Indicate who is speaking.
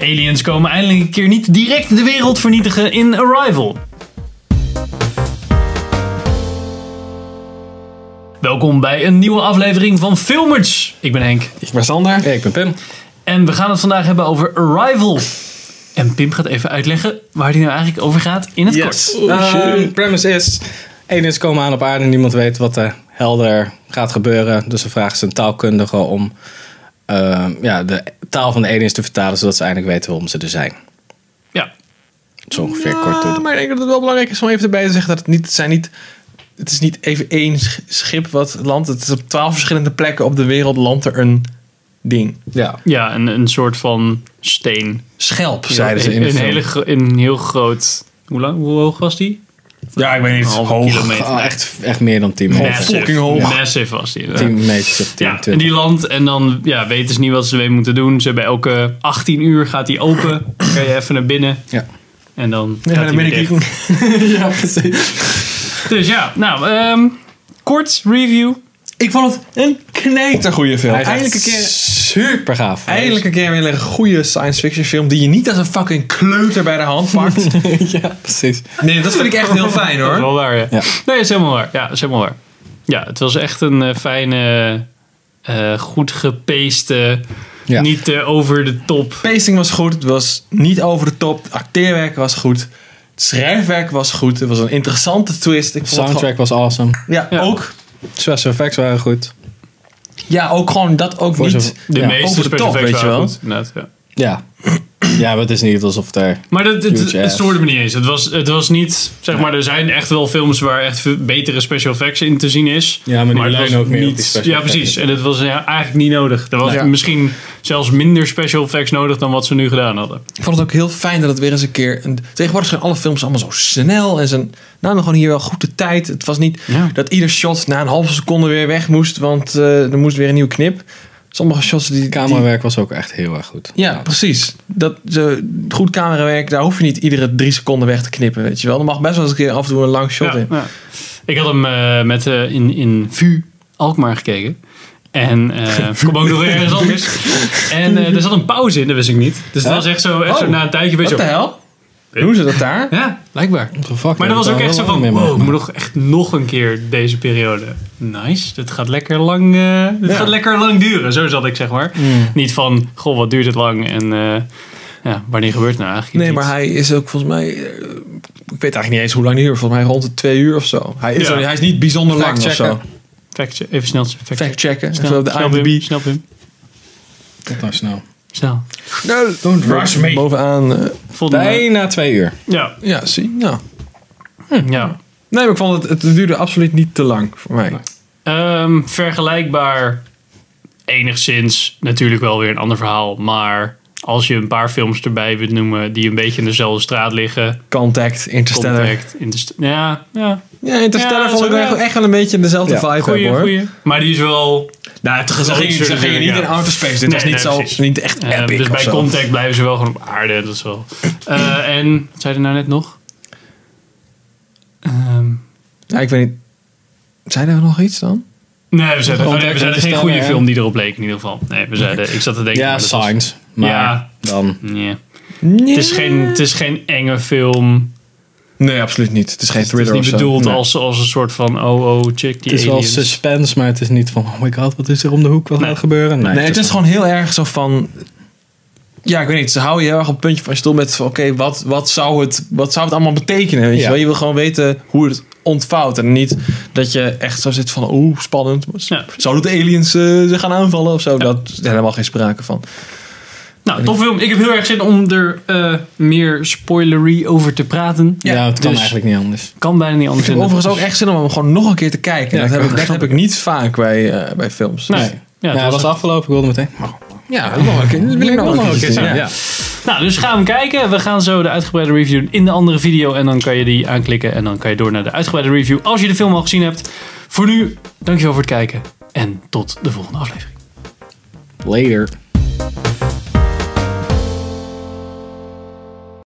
Speaker 1: Aliens komen eindelijk een keer niet direct de wereld vernietigen in Arrival. Welkom bij een nieuwe aflevering van Filmers. Ik ben Henk.
Speaker 2: Ik ben Sander.
Speaker 3: Hey, ik ben Pim.
Speaker 1: En we gaan het vandaag hebben over Arrival. En Pim gaat even uitleggen waar die nou eigenlijk over gaat in het
Speaker 2: Yes.
Speaker 1: kort.
Speaker 2: Oh,
Speaker 3: Eh,
Speaker 2: shit.
Speaker 3: premise is, aliens komen aan op aarde. Niemand weet wat er helder gaat gebeuren. Dus ze vragen ze een taalkundige om eh, ja, de taal van de aliens te vertalen. Zodat ze eindelijk weten waarom ze er zijn.
Speaker 1: Ja,
Speaker 3: Zo ongeveer kort door de-
Speaker 2: maar ik denk dat het wel belangrijk is om even erbij te zeggen dat het niet, het zijn niet, het is niet even één sch- schip wat landt. Het is op twaalf verschillende plekken op de wereld landt er een ding.
Speaker 3: Ja.
Speaker 1: ja een, een soort van steen.
Speaker 2: Schelp,
Speaker 3: zeiden ze in de
Speaker 1: een,
Speaker 3: film.
Speaker 1: hele, gro- een heel groot... Hoe, lang, hoe hoog was die?
Speaker 2: Ja, ik weet niet.
Speaker 1: Een halve
Speaker 2: Hoog.
Speaker 1: kilometer.
Speaker 3: Oh, echt, echt meer dan 10 meter.
Speaker 1: Massive.
Speaker 2: fucking hoog.
Speaker 1: Massive was die.
Speaker 3: 10 meter, 10,
Speaker 1: Ja, en
Speaker 3: 20.
Speaker 1: die landt en dan ja, weten ze niet wat ze ermee moeten doen. Ze hebben elke 18 uur gaat die open. Dan kan je even naar binnen
Speaker 3: Ja.
Speaker 1: en dan
Speaker 2: Ja,
Speaker 1: gaat
Speaker 2: dan
Speaker 1: die
Speaker 2: ben
Speaker 1: weer
Speaker 2: ik
Speaker 1: dicht.
Speaker 2: ja, precies.
Speaker 1: Dus ja, nou, ehm, kort review.
Speaker 2: Ik vond het een knijtergoeie film.
Speaker 3: Hij is
Speaker 2: Eindelijk een
Speaker 3: echt
Speaker 2: keer
Speaker 3: super gaaf.
Speaker 2: Eindelijk een keer weer een goede science fiction film die je niet als een fucking kleuter bij de hand pakt.
Speaker 3: ja, precies.
Speaker 2: Nee, dat vind ik echt heel fijn
Speaker 1: Dat is
Speaker 2: hoor.
Speaker 1: wel waar, ja.
Speaker 3: Ja.
Speaker 1: Nee, is helemaal waar. Ja, is helemaal waar. Ja, het was echt een eh, fijne, eh, goed gepaste,
Speaker 3: Ja.
Speaker 1: niet eh, over de top.
Speaker 2: Pacing was goed, het was niet over de top, het acteerwerk was goed, het schrijfwerk was goed, het was een interessante twist. Ik vond het
Speaker 3: Soundtrack was awesome.
Speaker 2: gewoon- ja,
Speaker 1: Ja.
Speaker 2: ook.
Speaker 3: Special effects waren goed.
Speaker 2: Ja, ook gewoon dat ook
Speaker 3: Voor
Speaker 2: niet.
Speaker 3: zover-
Speaker 1: De
Speaker 3: Ja,
Speaker 1: meeste
Speaker 2: over de
Speaker 1: special
Speaker 2: top,
Speaker 1: effects
Speaker 2: weet je
Speaker 1: waren
Speaker 2: wel.
Speaker 1: goed. Inderdaad, ja.
Speaker 3: Ja. Ja, maar het is niet alsof er...
Speaker 1: Maar dat, het,
Speaker 3: Huge
Speaker 1: het
Speaker 3: ass.
Speaker 1: stoorde me niet eens. Het was, het was niet, zeg maar, er zijn echt wel films waar echt veel betere special effects in te zien is.
Speaker 3: Ja, maar die
Speaker 1: het
Speaker 3: leunen
Speaker 1: was
Speaker 3: ook meer op die special
Speaker 1: Ja, precies.
Speaker 3: effects.
Speaker 1: En het was ja, eigenlijk niet nodig. Er was
Speaker 3: Nee.
Speaker 1: misschien zelfs minder special effects nodig dan wat ze nu gedaan hadden.
Speaker 2: Ik vond het ook heel fijn dat het weer eens een keer. Een, tegenwoordig zijn alle films allemaal zo snel en zijn namen gewoon hier wel goed de tijd. Het was niet
Speaker 1: Ja.
Speaker 2: dat ieder shot na een halve seconde weer weg moest, want eh, er moest weer een nieuwe knip. Sommige shots die. die-
Speaker 3: Camerawerk was ook echt heel erg goed.
Speaker 2: Ja, precies. Dat, ze- goed camerawerk, daar hoef je niet iedere drie seconden weg te knippen, weet je wel. Er mag best wel eens een keer af en toe een lang shot
Speaker 1: Ja,
Speaker 2: in.
Speaker 1: ja. Ik had hem eh, met, eh, in, in VU Alkmaar gekeken. En eh kom ook nog weer ergens anders. En eh, er zat een pauze in, dat wist ik niet. Dus het
Speaker 2: Huh?
Speaker 1: was echt zo, echt zo
Speaker 2: Oh,
Speaker 1: na een tijdje. Weet je,
Speaker 2: Wat de
Speaker 1: zo-
Speaker 2: hel? Doen ze dat daar?
Speaker 1: ja, blijkbaar.
Speaker 3: Fuck,
Speaker 1: Maar
Speaker 3: daar
Speaker 1: dat was
Speaker 3: heb
Speaker 1: ook
Speaker 3: ik
Speaker 1: echt zo
Speaker 3: wel
Speaker 1: van,
Speaker 3: mee
Speaker 1: wow, ik
Speaker 3: mogen.
Speaker 1: moet nog echt nog een keer deze periode. Nice, dit gaat lekker lang, eh, dit
Speaker 2: Ja.
Speaker 1: gaat lekker lang duren. Zo zat ik, zeg maar. Niet van, goh, wat duurt het lang en eh, ja, wanneer gebeurt het nou eigenlijk
Speaker 2: Nee,
Speaker 1: iets?
Speaker 2: maar hij is ook volgens mij... eh, Ik weet eigenlijk niet eens hoe lang die duurt. Volgens mij rond de twee uur of zo. Hij is,
Speaker 1: Ja.
Speaker 2: hij is niet bijzonder lang of
Speaker 3: Fact-checken.
Speaker 2: zo.
Speaker 1: Fact, even snel, fact,
Speaker 2: Fact checken.
Speaker 1: snel,
Speaker 2: Zo op de
Speaker 1: snel,
Speaker 2: IMDb.
Speaker 1: Pim, snel, Pim.
Speaker 3: Tot nou snel.
Speaker 1: snel.
Speaker 2: No,
Speaker 3: Don't rush me.
Speaker 2: Nou, Bovenaan. eh,
Speaker 1: Volgende.
Speaker 3: Bijna twee uur.
Speaker 1: Ja,
Speaker 2: ja, zie. Ja. Hmm.
Speaker 1: ja.
Speaker 2: Nee, maar ik vond het... Het duurde absoluut niet te lang voor mij.
Speaker 1: Ehm, vergelijkbaar enigszins, natuurlijk wel weer een ander verhaal, maar als je een paar films erbij wilt noemen die een beetje in dezelfde straat liggen,
Speaker 2: Contact, Interstellar.
Speaker 1: Contact, Interst- ja, ja,
Speaker 2: Ja, Interstellar
Speaker 1: Ja,
Speaker 2: vond ik
Speaker 1: zo,
Speaker 2: wel
Speaker 1: ja.
Speaker 2: echt- echt wel een beetje dezelfde
Speaker 3: Ja.
Speaker 2: vibe hebben,
Speaker 1: Goeie,
Speaker 2: hoor.
Speaker 1: goeie. Maar die is wel.
Speaker 2: Nou, het
Speaker 1: Wel iets
Speaker 2: ze gingen
Speaker 1: natuurlijk,
Speaker 2: niet
Speaker 1: ja.
Speaker 2: in outer space. Dit
Speaker 1: Nee,
Speaker 2: was niet,
Speaker 1: nee,
Speaker 2: zo,
Speaker 1: precies.
Speaker 2: niet echt
Speaker 1: eh,
Speaker 2: epic
Speaker 1: dus
Speaker 2: of
Speaker 1: bij
Speaker 2: zo.
Speaker 1: contact blijven ze wel gewoon op aarde, dat is wel. Eh, en wat zei je nou net nog? Ehm,
Speaker 2: Ja, ik weet niet. Zijn er nog iets dan?
Speaker 1: nee, we zeiden, oh, nee,
Speaker 3: Contact
Speaker 1: we zeiden geen
Speaker 3: Interstellar,
Speaker 1: goede
Speaker 3: hè?
Speaker 1: film die erop leek in ieder geval. Nee, we zeiden, ik zat te denken.
Speaker 3: Ja,
Speaker 1: maar dat was-
Speaker 3: signs. Maar
Speaker 1: Ja.
Speaker 3: dan...
Speaker 1: Nee.
Speaker 2: Nee.
Speaker 1: Het, is geen, het is geen enge film.
Speaker 2: Nee, absoluut niet. Dus Het is geen
Speaker 1: Het is
Speaker 2: thriller
Speaker 1: niet
Speaker 2: of zo.
Speaker 1: bedoeld
Speaker 2: Nee.
Speaker 1: als, als een soort van oh oh, check die
Speaker 3: Het is wel
Speaker 1: aliens.
Speaker 3: suspense, maar het is niet van... Oh my god, wat is er om de hoek? Wat
Speaker 1: Nee.
Speaker 3: gaat er gebeuren?
Speaker 2: Nee, het is gewoon heel erg zo van... Ja, ik weet niet. Ze houden je heel erg op het puntje van je stoel met... van, Oké, wat, wat, zou het, wat zou het allemaal betekenen? Weet je,
Speaker 3: Ja.
Speaker 2: wel? je wil gewoon weten hoe het ontvouwt. En niet dat je echt zo zit van... Oeh, spannend.
Speaker 1: Ja.
Speaker 2: Zouden de aliens eh, ze gaan aanvallen of zo? Dat is helemaal geen sprake van.
Speaker 1: Nou, tof film. Ik heb heel erg zin om er eh, meer spoilery over te praten.
Speaker 3: Ja, het kan
Speaker 1: Dus-
Speaker 3: eigenlijk niet anders.
Speaker 1: Kan bijna niet anders.
Speaker 2: Ik heb
Speaker 1: in de-
Speaker 2: overigens ook echt zin om hem gewoon nog een keer te kijken.
Speaker 3: Ja,
Speaker 2: dat heb
Speaker 3: ik
Speaker 2: ik, dat heb ik niet vaak bij, eh, bij films.
Speaker 1: Nee.
Speaker 3: Nee.
Speaker 1: Ja,
Speaker 3: Dus- Ja,
Speaker 1: het was
Speaker 3: het was afgelopen. Ik wilde meteen... Oh,
Speaker 2: Ja, nog een keer. Dat wil ik
Speaker 1: Oh,
Speaker 2: nog een keer zien.
Speaker 3: ja.
Speaker 2: Ja.
Speaker 1: Nou, dus ga hem kijken. We gaan zo de uitgebreide review doen in de andere video. En dan kan je die aanklikken en dan kan je door naar de uitgebreide review als je de film al gezien hebt. Voor nu, dankjewel voor het kijken en tot de volgende aflevering.
Speaker 3: Later.